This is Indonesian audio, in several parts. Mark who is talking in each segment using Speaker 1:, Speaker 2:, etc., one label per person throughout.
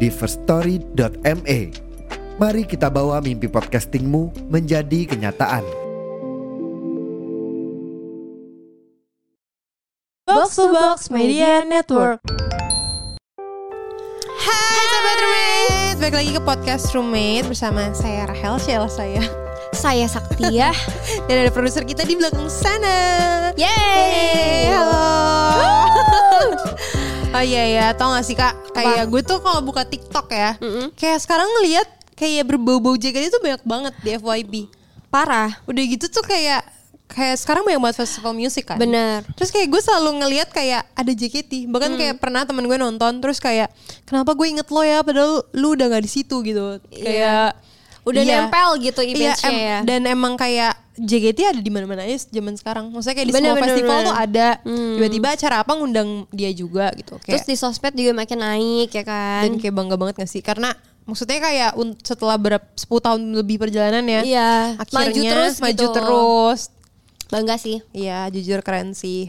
Speaker 1: di firststory.me. Mari kita bawa mimpi podcastingmu menjadi kenyataan.
Speaker 2: Box to Box Media Network.
Speaker 3: Hai sahabat roommate, balik lagi ke podcast roommate bersama saya Rahel, Sheila saya
Speaker 4: Saya Saktia.
Speaker 3: Dan ada produser kita di belakang sana Yeay,
Speaker 4: Yeay.
Speaker 3: halo Oh iya ya, tau gak sih kak, kayak gue tuh kalau buka TikTok ya
Speaker 4: Mm-mm.
Speaker 3: Kayak sekarang ngeliat kayak berbau-bau JKT tuh banyak banget di FYP
Speaker 4: Parah.
Speaker 3: Udah gitu tuh kayak, kayak sekarang banyak banget festival musik kan
Speaker 4: Bener.
Speaker 3: Terus kayak gue selalu ngelihat kayak ada JKT. Bahkan kayak pernah temen gue nonton terus kayak kenapa gue inget lo ya padahal lu udah gak di situ gitu. Kayak
Speaker 4: Iya. Udah
Speaker 3: Iya.
Speaker 4: nempel gitu
Speaker 3: Iya,
Speaker 4: image-nya
Speaker 3: em-
Speaker 4: ya.
Speaker 3: dan emang kayak JKT ada di mana-mana aja zaman sekarang. Maksudnya kayak di
Speaker 4: Bener,
Speaker 3: semua
Speaker 4: bener,
Speaker 3: festival
Speaker 4: bener.
Speaker 3: tuh ada.
Speaker 4: Hmm.
Speaker 3: Tiba-tiba acara apa ngundang dia juga gitu.
Speaker 4: Terus
Speaker 3: Kayak,
Speaker 4: di sosmed juga makin naik ya kan.
Speaker 3: dan kayak bangga banget gak sih? Karena maksudnya kayak un- setelah berapa 10 tahun lebih perjalanan ya.
Speaker 4: Iya.
Speaker 3: Akhirnya
Speaker 4: maju terus
Speaker 3: maju
Speaker 4: gitu.
Speaker 3: terus.
Speaker 4: Bangga sih.
Speaker 3: Iya, jujur keren sih.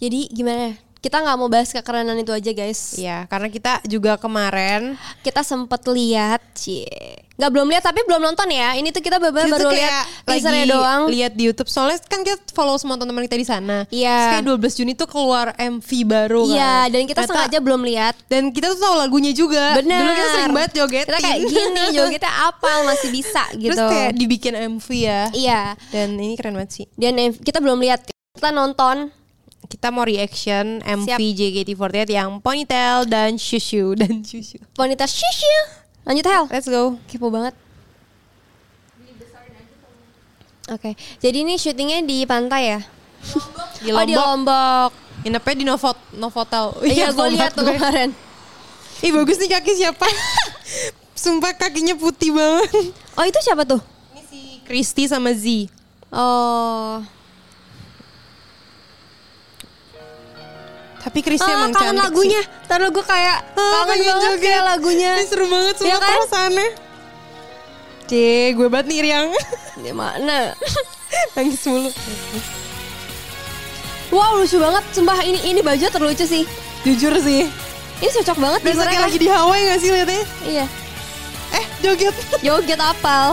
Speaker 4: Jadi gimana? Kita nggak mau bahas kekerenan itu aja guys.
Speaker 3: Iya, karena kita juga kemarin
Speaker 4: Kita sempet lihat, cie. Nggak belum lihat tapi belum nonton ya. Ini tuh kita baru
Speaker 3: Kita
Speaker 4: baru
Speaker 3: tuh
Speaker 4: lihat
Speaker 3: kayak
Speaker 4: teasernya
Speaker 3: lagi
Speaker 4: doang.
Speaker 3: Lihat di YouTube soalnya kan kita follow semua teman-teman kita di sana.
Speaker 4: Iya.
Speaker 3: Terus kayak 12 Juni tuh keluar MV baru kan.
Speaker 4: Iya, dan kita
Speaker 3: Ternyata-
Speaker 4: sengaja belum lihat.
Speaker 3: dan kita tuh tahu lagunya juga.
Speaker 4: Bener.
Speaker 3: Dulu kita sering banget jogetin.
Speaker 4: Kita kayak gini jogetnya apa masih bisa gitu.
Speaker 3: Terus kayak dibikin MV ya.
Speaker 4: Iya.
Speaker 3: Dan ini keren banget sih.
Speaker 4: Dan eh, kita belum lihat. Kita nonton
Speaker 3: Kita mau reaction
Speaker 4: Siap.
Speaker 3: MV JKT48 yang Ponytail dan Shushu dan Shushu.
Speaker 4: wanita shishu. Lanjut Hel.
Speaker 3: Let's go.
Speaker 4: Kepo banget. Oke, jadi ini syutingnya di pantai ya?
Speaker 3: Di
Speaker 4: Oh di Lombok.
Speaker 3: Inapnya di Novot Novotel.
Speaker 4: Iya, gue
Speaker 3: Novotel.
Speaker 4: lihat tuh kemarin.
Speaker 3: Ih bagus nih kaki siapa? Sumpah kakinya putih banget.
Speaker 4: Oh itu siapa tuh?
Speaker 3: Ini si Kristi sama Z.
Speaker 4: Oh,
Speaker 3: Tapi Kristi
Speaker 4: Ah,
Speaker 3: emang
Speaker 4: kangen
Speaker 3: cantik
Speaker 4: lagunya.
Speaker 3: sih.
Speaker 4: Taruh gue kayak
Speaker 3: Ah,
Speaker 4: kangen
Speaker 3: pengen
Speaker 4: banget
Speaker 3: joget.
Speaker 4: kayak lagunya.
Speaker 3: Ini seru banget semua
Speaker 4: Iya kan?
Speaker 3: perasaannya. Cie, gue banget nih Riang.
Speaker 4: Di mana?
Speaker 3: Nangis mulu.
Speaker 4: Wow lucu banget, sumpah ini ini baju terlucu sih.
Speaker 3: Jujur sih.
Speaker 4: Ini cocok banget di
Speaker 3: Berasa kayak
Speaker 4: mereka.
Speaker 3: lagi di Hawaii gak sih liatnya?
Speaker 4: Iya,
Speaker 3: Eh, joget.
Speaker 4: joget apal.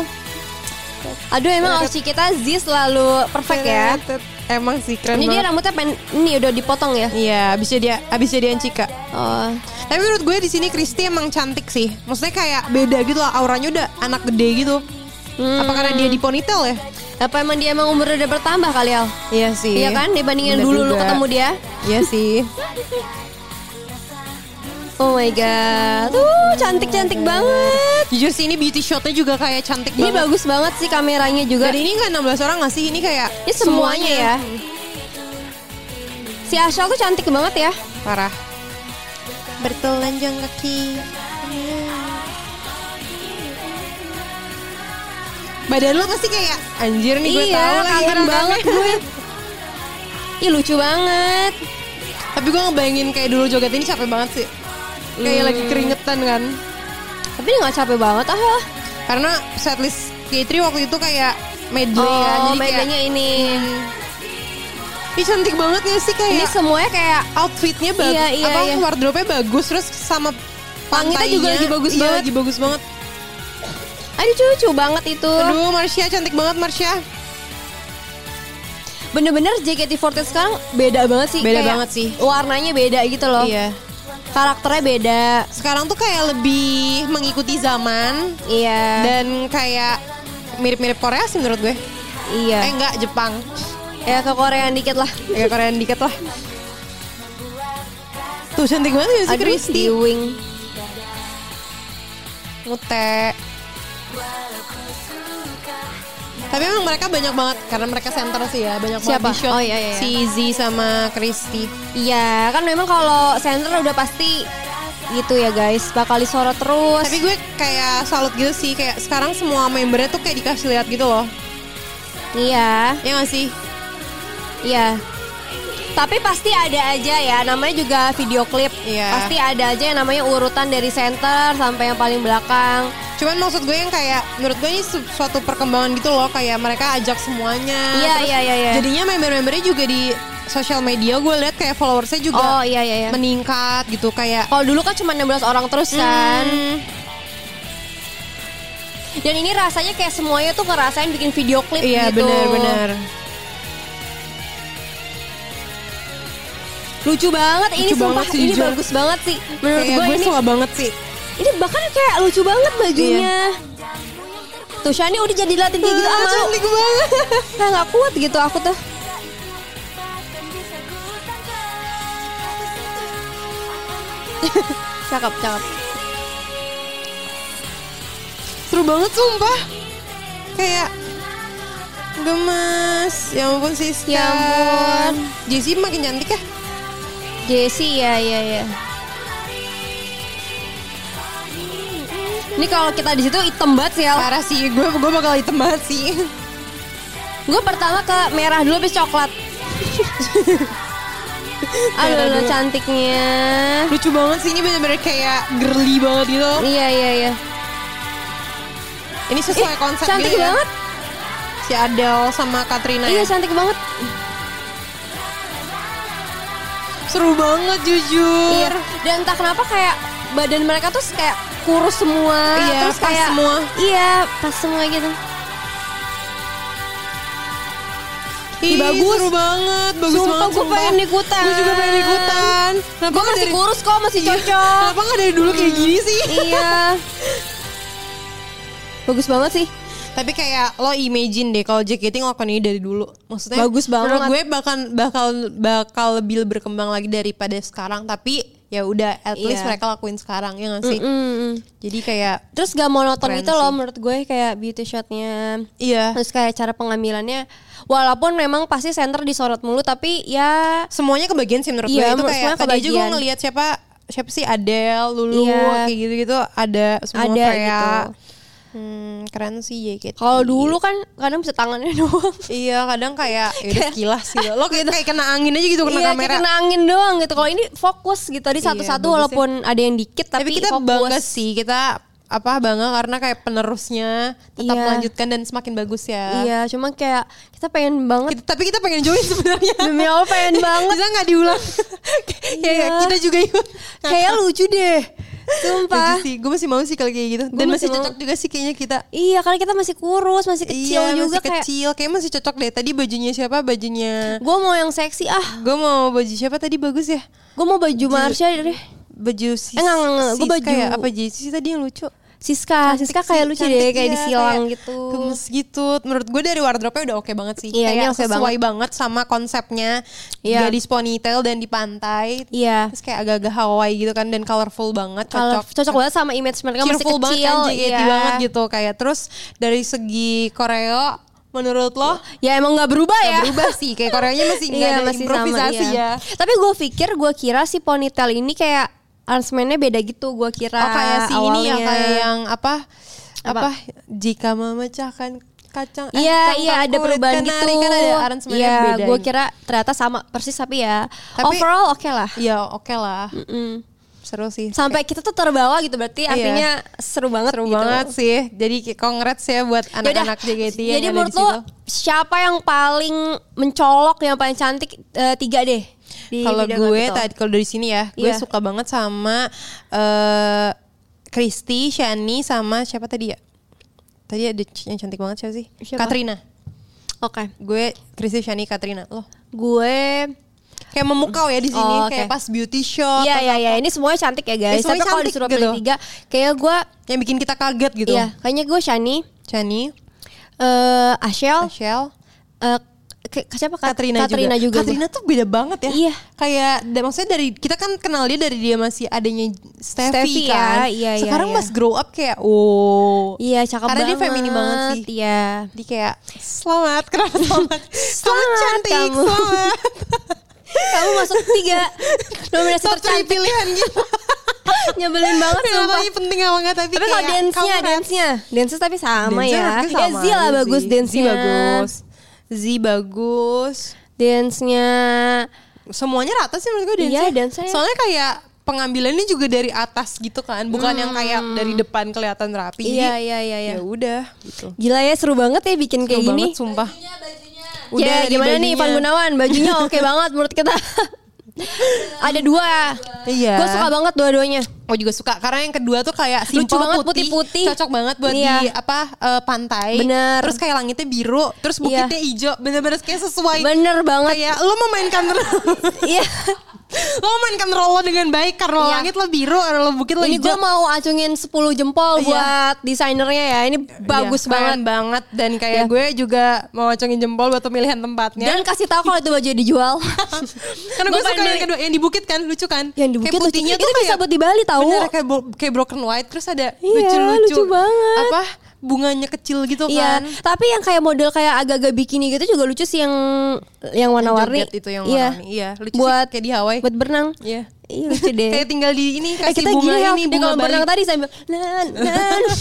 Speaker 4: Aduh
Speaker 3: Iya.
Speaker 4: emang Oci kita Z selalu perfect ya.
Speaker 3: Emang sih keren
Speaker 4: Ini dia
Speaker 3: banget.
Speaker 4: rambutnya pen, ini udah dipotong ya.
Speaker 3: Iya, abisnya dia, abisnya dia Cika.
Speaker 4: Oh,
Speaker 3: Tapi menurut gue di sini Kristi emang cantik sih. Maksudnya kayak beda gitu lah, auranya udah anak gede gitu.
Speaker 4: Hmm.
Speaker 3: Apa karena dia di ponytail ya?
Speaker 4: apa emang dia emang umurnya udah bertambah kali Al?
Speaker 3: Iya sih.
Speaker 4: Iya kan dibandingin
Speaker 3: Bener
Speaker 4: dulu lu
Speaker 3: juga.
Speaker 4: ketemu dia.
Speaker 3: Iya sih.
Speaker 4: Oh my god. Uh, cantik-cantik banget.
Speaker 3: Jujur sih ini beauty shotnya juga kayak cantik
Speaker 4: Ini
Speaker 3: banget.
Speaker 4: bagus banget sih kameranya juga.
Speaker 3: Dan ini nggak 16 orang nggak sih? Ini kayak
Speaker 4: Ini semuanya ya.
Speaker 3: Hmm.
Speaker 4: Si Ashel tuh cantik banget ya.
Speaker 3: Parah. Bertelanjang kaki. Badan lo pasti kayak anjir nih gue
Speaker 4: iya,
Speaker 3: tahu lagi
Speaker 4: kangen
Speaker 3: orang
Speaker 4: banget
Speaker 3: kangen.
Speaker 4: gue. Ih lucu banget.
Speaker 3: Tapi gue ngebayangin kayak dulu joget ini capek banget sih. Kayak lagi
Speaker 4: Hmm.
Speaker 3: keringetan kan.
Speaker 4: Tapi dia gak capek banget ah.
Speaker 3: Karena setlist K3 waktu itu kayak medley ya.
Speaker 4: Oh,
Speaker 3: Jadi kayak, Hmm.
Speaker 4: medley-nya ini.
Speaker 3: Ih cantik banget gak sih kayak
Speaker 4: Ini semuanya kayak
Speaker 3: outfitnya bagus,
Speaker 4: Iya, iya,
Speaker 3: apa
Speaker 4: iya.
Speaker 3: wardrobe-nya bagus terus sama
Speaker 4: Langitnya juga
Speaker 3: pantainya.
Speaker 4: lagi bagus
Speaker 3: Iya,
Speaker 4: banget.
Speaker 3: lagi bagus banget.
Speaker 4: aduh lucu banget itu.
Speaker 3: Aduh, Marsha cantik banget Marsha.
Speaker 4: Bener-bener JKT48 sekarang beda banget sih.
Speaker 3: Beda banget sih.
Speaker 4: Warnanya beda gitu loh.
Speaker 3: Iya.
Speaker 4: Karakternya beda.
Speaker 3: Sekarang tuh kayak lebih mengikuti zaman
Speaker 4: Iya.
Speaker 3: dan kayak mirip-mirip Korea sih menurut gue.
Speaker 4: iya.
Speaker 3: Eh enggak, Jepang.
Speaker 4: Ya ke Korea dikit lah.
Speaker 3: Agak Korean dikit lah. Tuh cantik banget gak sih
Speaker 4: Aduh,
Speaker 3: Kristi?
Speaker 4: di wing.
Speaker 3: Mute. Tapi emang mereka banyak banget karena mereka center sih ya, banyak
Speaker 4: Siapa?
Speaker 3: banget di shot.
Speaker 4: Oh, iya, iya, iya.
Speaker 3: Si Z sama Kristi.
Speaker 4: Iya, kan memang kalau center udah pasti gitu ya guys bakal disorot terus
Speaker 3: Tapi gue kayak salut gitu sih kayak sekarang semua membernya tuh kayak dikasih lihat gitu loh.
Speaker 4: iya
Speaker 3: Ya gak sih?
Speaker 4: iya tapi pasti ada aja ya namanya juga video klip
Speaker 3: Iya.
Speaker 4: pasti ada aja yang namanya urutan dari center sampai yang paling belakang
Speaker 3: Cuman maksud gue yang kayak menurut gue ini su- suatu perkembangan gitu loh kayak mereka ajak semuanya.
Speaker 4: Iya,
Speaker 3: Terus
Speaker 4: iya, iya, iya.
Speaker 3: Jadinya member-membernya juga di sosial media gue lihat kayak followersnya
Speaker 4: oh
Speaker 3: juga
Speaker 4: iya iya iya
Speaker 3: meningkat gitu kayak
Speaker 4: kalau dulu kan cuma 16 orang terus kan
Speaker 3: Hmm,
Speaker 4: dan ini rasanya kayak semuanya tuh ngerasain bikin video klip
Speaker 3: Iya
Speaker 4: gitu
Speaker 3: benar-benar.
Speaker 4: lucu banget ini
Speaker 3: Lucu
Speaker 4: sumpah
Speaker 3: banget sih,
Speaker 4: ini
Speaker 3: jujur.
Speaker 4: bagus banget sih menurut
Speaker 3: Kayak
Speaker 4: gue ini
Speaker 3: suka banget sih.
Speaker 4: ini bahkan kayak lucu banget bajunya tuh Shani udah jadi latin kayak gitu
Speaker 3: Iya. Ah,
Speaker 4: ah, malu.
Speaker 3: cantik banget.
Speaker 4: Nah, nggak kuat gitu aku tuh cakep cakep
Speaker 3: Seru banget sumpah. Kayak gemes. Ya ampun sister.
Speaker 4: Ya ampun.
Speaker 3: Jessie makin cantik ya.
Speaker 4: Jessie ya ya ya ini kalau kita di situ hitam banget sih
Speaker 3: Parah sih, gue gue bakal hitam banget sih.
Speaker 4: Gue pertama ke merah dulu habis coklat. Aduh,
Speaker 3: Merah
Speaker 4: lo
Speaker 3: dulu.
Speaker 4: cantiknya.
Speaker 3: Lucu banget sih ini bener-bener kayak girly banget gitu.
Speaker 4: Iya, iya, iya.
Speaker 3: Ini
Speaker 4: Ih,
Speaker 3: sesuai konsep
Speaker 4: eh, cantik
Speaker 3: gitu ya.
Speaker 4: banget.
Speaker 3: Si Adele sama Katrina
Speaker 4: Iya,
Speaker 3: ya.
Speaker 4: cantik banget.
Speaker 3: Seru banget
Speaker 4: Iya.
Speaker 3: jujur.
Speaker 4: Dan entah kenapa kayak badan mereka tuh kayak kurus semua,
Speaker 3: Iya,
Speaker 4: terus
Speaker 3: pas
Speaker 4: kayak
Speaker 3: semua.
Speaker 4: Iya, pas semua gitu.
Speaker 3: Ih,
Speaker 4: Iya, bagus.
Speaker 3: Seru banget, bagus
Speaker 4: Sumpah,
Speaker 3: banget.
Speaker 4: gue pengen ikutan.
Speaker 3: Gue juga pengen ikutan. Kenapa
Speaker 4: Gue
Speaker 3: nggak
Speaker 4: masih
Speaker 3: dari-
Speaker 4: kurus kok, masih
Speaker 3: Iya.
Speaker 4: cocok.
Speaker 3: Kenapa gak dari dulu kayak gini sih?
Speaker 4: iya. Bagus banget sih.
Speaker 3: Tapi kayak lo imagine deh kalau JKT ngelakuin ini dari dulu. Maksudnya
Speaker 4: Bagus banget.
Speaker 3: Menurut gue bahkan bakal bakal lebih berkembang lagi daripada sekarang. Tapi ya udah, at least
Speaker 4: Iya.
Speaker 3: mereka lakuin sekarang ya gak sih?
Speaker 4: Mm-mm.
Speaker 3: Jadi kayak
Speaker 4: Terus gak monoton
Speaker 3: Keren
Speaker 4: gitu loh
Speaker 3: sih.
Speaker 4: menurut gue kayak beauty shotnya.
Speaker 3: iya
Speaker 4: Terus kayak cara pengambilannya Walaupun memang pasti center disorot mulu Tapi ya
Speaker 3: semuanya kebagian sih menurut
Speaker 4: Iya,
Speaker 3: gue itu
Speaker 4: menurut
Speaker 3: kayak
Speaker 4: gue
Speaker 3: tadi aja gue
Speaker 4: kebagian.
Speaker 3: ngelihat siapa siapa sih Adele, Lulu
Speaker 4: Iya.
Speaker 3: kayak gitu-gitu ada semua
Speaker 4: Ada
Speaker 3: kayak
Speaker 4: gitu.
Speaker 3: hmm, keren sih JKT.
Speaker 4: Kalau dulu kan kadang bisa tangannya doang
Speaker 3: Iya kadang kayak ya kilas gitu. Lo kayak, kayak kena angin aja gitu kena
Speaker 4: Iya kayak
Speaker 3: kamera.
Speaker 4: kena angin doang gitu Kalau ini fokus gitu Tadi satu-satu
Speaker 3: bagus ya.
Speaker 4: walaupun ada yang dikit
Speaker 3: Tapi,
Speaker 4: Tapi,
Speaker 3: kita
Speaker 4: fokus.
Speaker 3: bangga sih kita apa bangga karena kayak penerusnya tetap
Speaker 4: Iya.
Speaker 3: melanjutkan dan semakin bagus ya.
Speaker 4: Iya cuma kayak kita pengen banget
Speaker 3: Kita- tapi kita pengen join sebenarnya.
Speaker 4: Demi Allah pengen banget
Speaker 3: Bisa nggak diulang? ya, ya,
Speaker 4: Iya.
Speaker 3: kita juga ikut.
Speaker 4: Kayak lucu deh
Speaker 3: Lucu
Speaker 4: Sumpah
Speaker 3: sih, gue masih mau sih kalau kayak gitu.
Speaker 4: Gue
Speaker 3: Dan masih
Speaker 4: masih mau.
Speaker 3: cocok juga sih kayaknya kita.
Speaker 4: Iya karena kita masih kurus Masih kecil
Speaker 3: iya,
Speaker 4: juga
Speaker 3: masih kecil. Kayak masih cocok deh. Tadi bajunya siapa?
Speaker 4: Kayak
Speaker 3: Bajunya.
Speaker 4: gue mau yang seksi ah
Speaker 3: Gue mau baju siapa tadi bagus ya?
Speaker 4: Gue mau baju Marsha deh
Speaker 3: Baju
Speaker 4: Eh,
Speaker 3: sis.
Speaker 4: nggak, nggak, nggak. Gue
Speaker 3: Siska
Speaker 4: baju-
Speaker 3: ya? Apa Jay sih tadi yang lucu?
Speaker 4: Siska, Siska
Speaker 3: Cantik
Speaker 4: kayak
Speaker 3: sih,
Speaker 4: lucu
Speaker 3: cantik
Speaker 4: deh, kayak
Speaker 3: dia,
Speaker 4: disilang
Speaker 3: kayak
Speaker 4: gitu.
Speaker 3: Gemes gitu. Menurut gue dari wardrobe-nya udah oke banget sih.
Speaker 4: Iya, ini
Speaker 3: kayak
Speaker 4: oke
Speaker 3: sesuai banget. sama konsepnya
Speaker 4: Iya.
Speaker 3: gadis ponytail dan di pantai.
Speaker 4: Iya.
Speaker 3: Terus kayak agak-agak Hawaii gitu kan dan colorful banget,
Speaker 4: Kalau
Speaker 3: cocok.
Speaker 4: cocok banget sama image mereka masih
Speaker 3: Cheerful
Speaker 4: kecil,
Speaker 3: banget kan JKT
Speaker 4: iya.
Speaker 3: banget gitu kayak. Terus dari segi Korea menurut lo
Speaker 4: Ya emang nggak berubah
Speaker 3: nggak
Speaker 4: ya.
Speaker 3: berubah sih kayak Koreanya masih nggak
Speaker 4: Iya,
Speaker 3: ada
Speaker 4: masih sama,
Speaker 3: improvisasi
Speaker 4: iya.
Speaker 3: ya.
Speaker 4: Tapi gue pikir, gue kira si ponytail ini kayak arrangementnya beda gitu, gue kira.
Speaker 3: Oh kayak si ini ya
Speaker 4: awalnya.
Speaker 3: kayak yang apa apa,
Speaker 4: Apa?
Speaker 3: jika memecahkan kacang eh,
Speaker 4: Iya,
Speaker 3: kacang
Speaker 4: iya ada
Speaker 3: kulit
Speaker 4: perubahan
Speaker 3: kenari.
Speaker 4: gitu.
Speaker 3: kan ada aransemen
Speaker 4: Iya,
Speaker 3: beda gitu.
Speaker 4: gue kira ternyata sama persis tapi ya
Speaker 3: Tapi-
Speaker 4: overall oke lah.
Speaker 3: ya oke lah
Speaker 4: Mm-mm.
Speaker 3: seru sih
Speaker 4: Sampai kita tuh terbawa gitu berarti
Speaker 3: Iya.
Speaker 4: artinya seru banget
Speaker 3: seru
Speaker 4: gitu.
Speaker 3: banget sih jadi congrats ya buat anak-anak JKT yang
Speaker 4: Jadi
Speaker 3: ada
Speaker 4: menurut lo
Speaker 3: di situ
Speaker 4: siapa yang paling mencolok yang paling cantik Eh, tiga deh di
Speaker 3: kalau
Speaker 4: video
Speaker 3: gue
Speaker 4: Gabito.
Speaker 3: tadi kalau dari sini ya gue
Speaker 4: Iya.
Speaker 3: suka banget sama eh Kristi, Shani sama siapa tadi ya tadi ada yang cantik banget siapa sih
Speaker 4: Siapa?
Speaker 3: Katrina
Speaker 4: Oke.
Speaker 3: gue Kristi, Shani, Katrina loh
Speaker 4: Gue
Speaker 3: kayak memukau ya di sini
Speaker 4: Oh, oke.
Speaker 3: kayak pas beauty shop
Speaker 4: Iya
Speaker 3: atau
Speaker 4: iya iya ini semuanya cantik ya
Speaker 3: Ini
Speaker 4: guys. Tapi
Speaker 3: Oh, semuanya
Speaker 4: kalau
Speaker 3: cantik
Speaker 4: disuruh
Speaker 3: gitu.
Speaker 4: pilih tiga kayaknya gue
Speaker 3: yang bikin kita kaget gitu
Speaker 4: iya kayaknya gue Shani,
Speaker 3: Chani
Speaker 4: eh Ashel,
Speaker 3: Michelle
Speaker 4: eh ke- ke- siapa Kat-
Speaker 3: Katrina,
Speaker 4: Katrina juga. gue.
Speaker 3: Katrina tuh beda banget ya
Speaker 4: Iya.
Speaker 3: kayak da- maksudnya dari kita kan kenal dia dari dia masih adanya Steffi
Speaker 4: Steffi ya,
Speaker 3: kan
Speaker 4: iya, iya,
Speaker 3: sekarang
Speaker 4: iya.
Speaker 3: mas grow up kayak oh
Speaker 4: Iya cakep
Speaker 3: Karena dia
Speaker 4: banget.
Speaker 3: feminin banget sih.
Speaker 4: Iya.
Speaker 3: Jadi kayak selamat kenapa selamat selamat
Speaker 4: Selamat
Speaker 3: cantik
Speaker 4: kamu.
Speaker 3: selamat
Speaker 4: Kamu masuk tiga nominasi
Speaker 3: top three
Speaker 4: tercantik.
Speaker 3: pilihan gitu
Speaker 4: nyebelin banget sumpah.
Speaker 3: Kenapa penting apa enggak tapi,
Speaker 4: Tapi kalau
Speaker 3: kayak
Speaker 4: dance-nya,
Speaker 3: kamu
Speaker 4: dance-nya, dance tapi sama
Speaker 3: Dance-nya
Speaker 4: ya.
Speaker 3: harusnya
Speaker 4: Ya
Speaker 3: sama,
Speaker 4: Z lah
Speaker 3: Z.
Speaker 4: bagus
Speaker 3: Z
Speaker 4: dance-nya.
Speaker 3: bagus. Z bagus.
Speaker 4: Dance-nya.
Speaker 3: Semuanya rata sih menurut gue dance-nya.
Speaker 4: Iya, dance-nya.
Speaker 3: Soalnya kayak pengambilannya juga dari atas gitu kan, bukan yang kayak dari depan kelihatan rapi.
Speaker 4: Hmm. Iya, iya, iya, iya.
Speaker 3: Ya udah gitu.
Speaker 4: Gila ya seru banget ya bikin kayak
Speaker 3: Seru
Speaker 4: gini.
Speaker 3: banget, sumpah.
Speaker 4: Udah
Speaker 3: dari
Speaker 4: gimana nih
Speaker 3: bajunya.
Speaker 4: Ivan Gunawan bajunya oke banget menurut kita. Ada dua.
Speaker 3: Iya.
Speaker 4: Gue suka banget dua-duanya.
Speaker 3: Gue juga suka karena yang kedua tuh kayak simple
Speaker 4: Lucu banget,
Speaker 3: putih,
Speaker 4: putih-putih.
Speaker 3: cocok banget buat
Speaker 4: Iya.
Speaker 3: di apa eh, pantai.
Speaker 4: Bener.
Speaker 3: Terus kayak langitnya biru, terus bukitnya
Speaker 4: Iya.
Speaker 3: hijau, bener-bener kayak sesuai.
Speaker 4: Bener banget.
Speaker 3: Kayak lo memainkan
Speaker 4: Iya.
Speaker 3: lo memainkan role lo dengan baik karena
Speaker 4: Iya.
Speaker 3: langit lo biru, lo bukit lo
Speaker 4: Ini gue
Speaker 3: hijau.
Speaker 4: mau acungin 10 jempol
Speaker 3: Iya.
Speaker 4: buat desainernya ya. Ini bagus
Speaker 3: Iya, keren
Speaker 4: banget.
Speaker 3: banget dan kayak
Speaker 4: Iya.
Speaker 3: gue juga mau acungin jempol buat pemilihan tempatnya.
Speaker 4: Dan kasih tahu kalau itu baju dijual.
Speaker 3: karena gue
Speaker 4: Gua
Speaker 3: suka
Speaker 4: pengen
Speaker 3: yang
Speaker 4: beli.
Speaker 3: kedua yang di bukit kan lucu kan?
Speaker 4: Yang di bukit
Speaker 3: kayak
Speaker 4: lucu.
Speaker 3: putihnya
Speaker 4: Itu
Speaker 3: tuh
Speaker 4: bisa
Speaker 3: kayak-
Speaker 4: buat di Bali tahu.
Speaker 3: Bener kayak, bo- kayak broken white terus ada
Speaker 4: Iya,
Speaker 3: lucu-lucu.
Speaker 4: lucu banget.
Speaker 3: Apa bunganya kecil gitu
Speaker 4: Iya,
Speaker 3: kan?
Speaker 4: tapi yang kayak model kayak agak-agak bikini gitu juga lucu sih yang yang warna-warni.
Speaker 3: Joget itu yang
Speaker 4: Iya.
Speaker 3: warna iya lucu
Speaker 4: Buat-
Speaker 3: sih kayak di Hawaii
Speaker 4: Buat berenang.
Speaker 3: iya
Speaker 4: Iya lucu deh.
Speaker 3: kayak tinggal di ini
Speaker 4: Eh,
Speaker 3: kasih
Speaker 4: kita
Speaker 3: bunga
Speaker 4: gini ya,
Speaker 3: ini
Speaker 4: di
Speaker 3: bunga
Speaker 4: kolam
Speaker 3: Bali.
Speaker 4: berenang tadi sambil nan nan.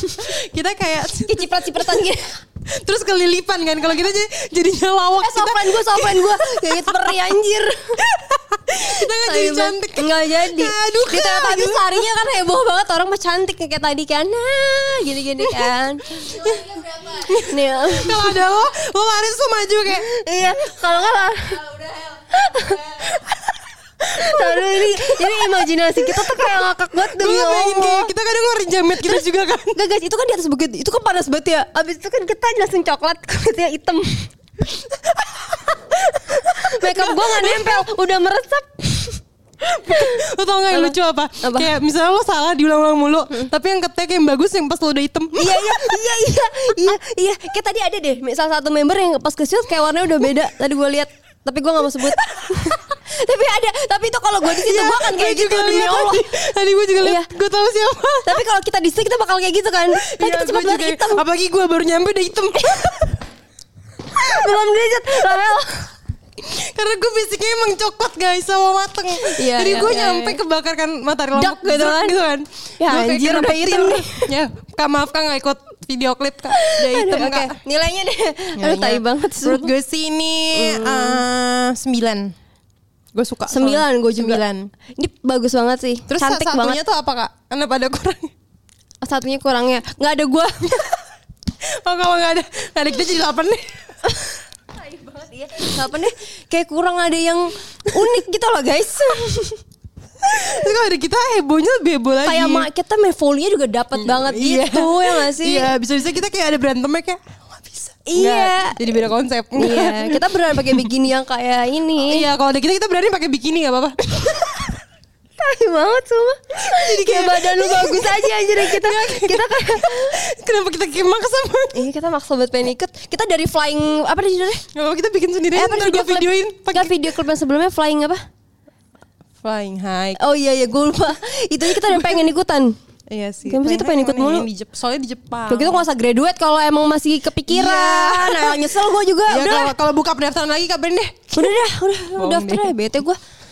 Speaker 3: kita kayak
Speaker 4: Kayak ciprat-cipratan gitu.
Speaker 3: terus kelilipan kan kalau kita jadi jadinya lawak
Speaker 4: Eh sofren gue, sofren gue. Kayak peri anjir.
Speaker 3: kita nggak jadi cantik
Speaker 4: Enggak jadi.
Speaker 3: aduh
Speaker 4: Kita
Speaker 3: Kak,
Speaker 4: tapi
Speaker 3: gitu.
Speaker 4: seharinya kan heboh banget orang mah cantik kayak tadi kan. Nah, gini-gini kan. Nih.
Speaker 3: kalau ada lo lo laris lo maju kayak
Speaker 4: Iya, kalau enggak lah. Aduh ini, ini imajinasi kita tuh kayak ngakak banget
Speaker 3: gue
Speaker 4: demi
Speaker 3: ngebayangin kayak
Speaker 4: Ya Allah.
Speaker 3: kita kadang ngeluarin jamet kita juga kan
Speaker 4: Enggak gitu. guys, itu kan di atas bukit, itu kan panas banget ya. Abis itu kan kita langsung coklat, kulitnya hitam. Makeup gue gak nempel, udah meresap.
Speaker 3: lo tau gak yang lucu apa?
Speaker 4: Apa? Hmm.
Speaker 3: kayak misalnya lo salah diulang-ulang mulu tapi yang ketek yang bagus yang pas lo udah hitam
Speaker 4: iya iya iya iya iya iya. Kayak tadi ada deh, salah satu member yang pas ke shoot kayak warnanya udah beda. Tadi gue lihat, tapi gue gak mau sebut. tapi ada, tapi itu kalau gue di situ gue akan kayak
Speaker 3: Gue
Speaker 4: gitu
Speaker 3: juga
Speaker 4: demi
Speaker 3: liat
Speaker 4: Allah.
Speaker 3: iya, tadi. Tadi gue juga liat,
Speaker 4: Iya.
Speaker 3: gue tau siapa
Speaker 4: Tapi kalau kita di situ kita bakal kayak gitu kan. Kayak
Speaker 3: Iya,
Speaker 4: kita cepat
Speaker 3: gue
Speaker 4: banget
Speaker 3: juga-
Speaker 4: hitam.
Speaker 3: Apalagi gue baru nyampe udah hitam
Speaker 4: Belum dijat, Rahel.
Speaker 3: Karena gue basicnya emang coklat guys sama mateng
Speaker 4: Iya,
Speaker 3: Jadi
Speaker 4: iya,
Speaker 3: gue
Speaker 4: iya,
Speaker 3: nyampe
Speaker 4: iya.
Speaker 3: kebakarkan matahari
Speaker 4: Dak
Speaker 3: lombok
Speaker 4: gitu
Speaker 3: zrek
Speaker 4: kan.
Speaker 3: gitu kan.
Speaker 4: Ya,
Speaker 3: Gua kayak
Speaker 4: anjir,
Speaker 3: kena
Speaker 4: udah
Speaker 3: petir.
Speaker 4: hitam nih.
Speaker 3: Ya kak maaf kak gak ikut video klip kak Udah hitam
Speaker 4: Aduh, oke.
Speaker 3: kak
Speaker 4: Nilainya deh. Aduh,
Speaker 3: Nilainya,
Speaker 4: tai banget. Hmm.
Speaker 3: Menurut gue sih ini eh, Sembilan Gue suka
Speaker 4: Sembilan
Speaker 3: soalnya.
Speaker 4: gue juga.
Speaker 3: Sembilan
Speaker 4: Ini bagus banget sih.
Speaker 3: Terus
Speaker 4: Cantik
Speaker 3: satunya
Speaker 4: banget.
Speaker 3: tuh apa kak? Kenapa ada kurang?
Speaker 4: Satunya kurangnya. Nggak ada gue.
Speaker 3: Oh kalau gak ada Gak ada kita jadi delapan nih
Speaker 4: Iya. Apa nih? Kayak kurang ada yang unik gitu loh guys.
Speaker 3: Terus kalau ada kita hebohnya lebih heboh lagi
Speaker 4: kayak ma kita main volley-nya juga dapat banget
Speaker 3: Iya.
Speaker 4: gitu ya nggak sih?
Speaker 3: Iya, bisa-bisa kita kayak ada berantemnya kayak "Ah, nggak bisa.
Speaker 4: Iya.
Speaker 3: Nggak, Jadi beda konsep.
Speaker 4: Iya,
Speaker 3: Nggak.
Speaker 4: kita beneran pakai bikini yang kayak ini.
Speaker 3: Iya, kalau ada kita kita berani pakai bikini gak apa-apa.
Speaker 4: Tai banget semua. Jadi kayak
Speaker 3: kayak-
Speaker 4: badan lu bagus aja anjir kita kita kayak
Speaker 3: Kenapa kita kayak maksa banget?
Speaker 4: Iya kita maksa buat pengen ikut. Kita dari flying apa tadi judulnya?
Speaker 3: Gak apa kita bikin sendiri
Speaker 4: Eh,
Speaker 3: aja,
Speaker 4: apa
Speaker 3: ntar gue
Speaker 4: video klip?
Speaker 3: videoin
Speaker 4: Enggak
Speaker 3: pakai
Speaker 4: video klip yang sebelumnya flying apa?
Speaker 3: flying high.
Speaker 4: Oh iya iya gue lupa. Itu aja kita udah pengen ikutan.
Speaker 3: Iya sih.
Speaker 4: Kenapa sih
Speaker 3: Flying
Speaker 4: tuh pengen
Speaker 3: high
Speaker 4: ikut
Speaker 3: mana
Speaker 4: mulu?
Speaker 3: yang di Jep- soalnya di Jepang.
Speaker 4: Kalau gitu nggak usah graduate kalau emang masih kepikiran.
Speaker 3: Ah.
Speaker 4: Nah,
Speaker 3: Iya.
Speaker 4: nyesel gue juga.
Speaker 3: Ya
Speaker 4: udah,
Speaker 3: kalau kalau buka pendaftaran lagi kabarin deh.
Speaker 4: udah dah, udah, udah
Speaker 3: Bohong
Speaker 4: daftar
Speaker 3: deh.
Speaker 4: ya. Bete gue.